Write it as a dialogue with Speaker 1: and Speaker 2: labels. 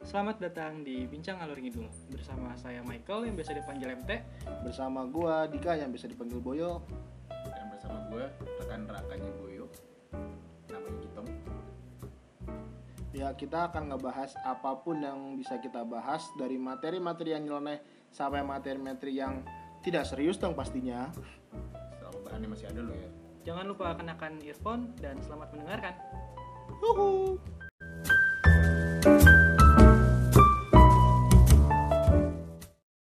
Speaker 1: Selamat datang di Bincang Alur Ngidul bersama saya Michael yang biasa dipanggil MT.
Speaker 2: bersama gua Dika yang bisa dipanggil Boyo
Speaker 3: dan bersama gue rekan rakanya Boyo namanya Gitom
Speaker 2: ya kita akan ngebahas apapun yang bisa kita bahas dari materi-materi yang nyeleneh sampai materi-materi yang tidak serius dong pastinya
Speaker 3: selama bahannya masih ada lo ya
Speaker 1: Jangan lupa kenakan earphone dan selamat mendengarkan.
Speaker 2: Yuhu.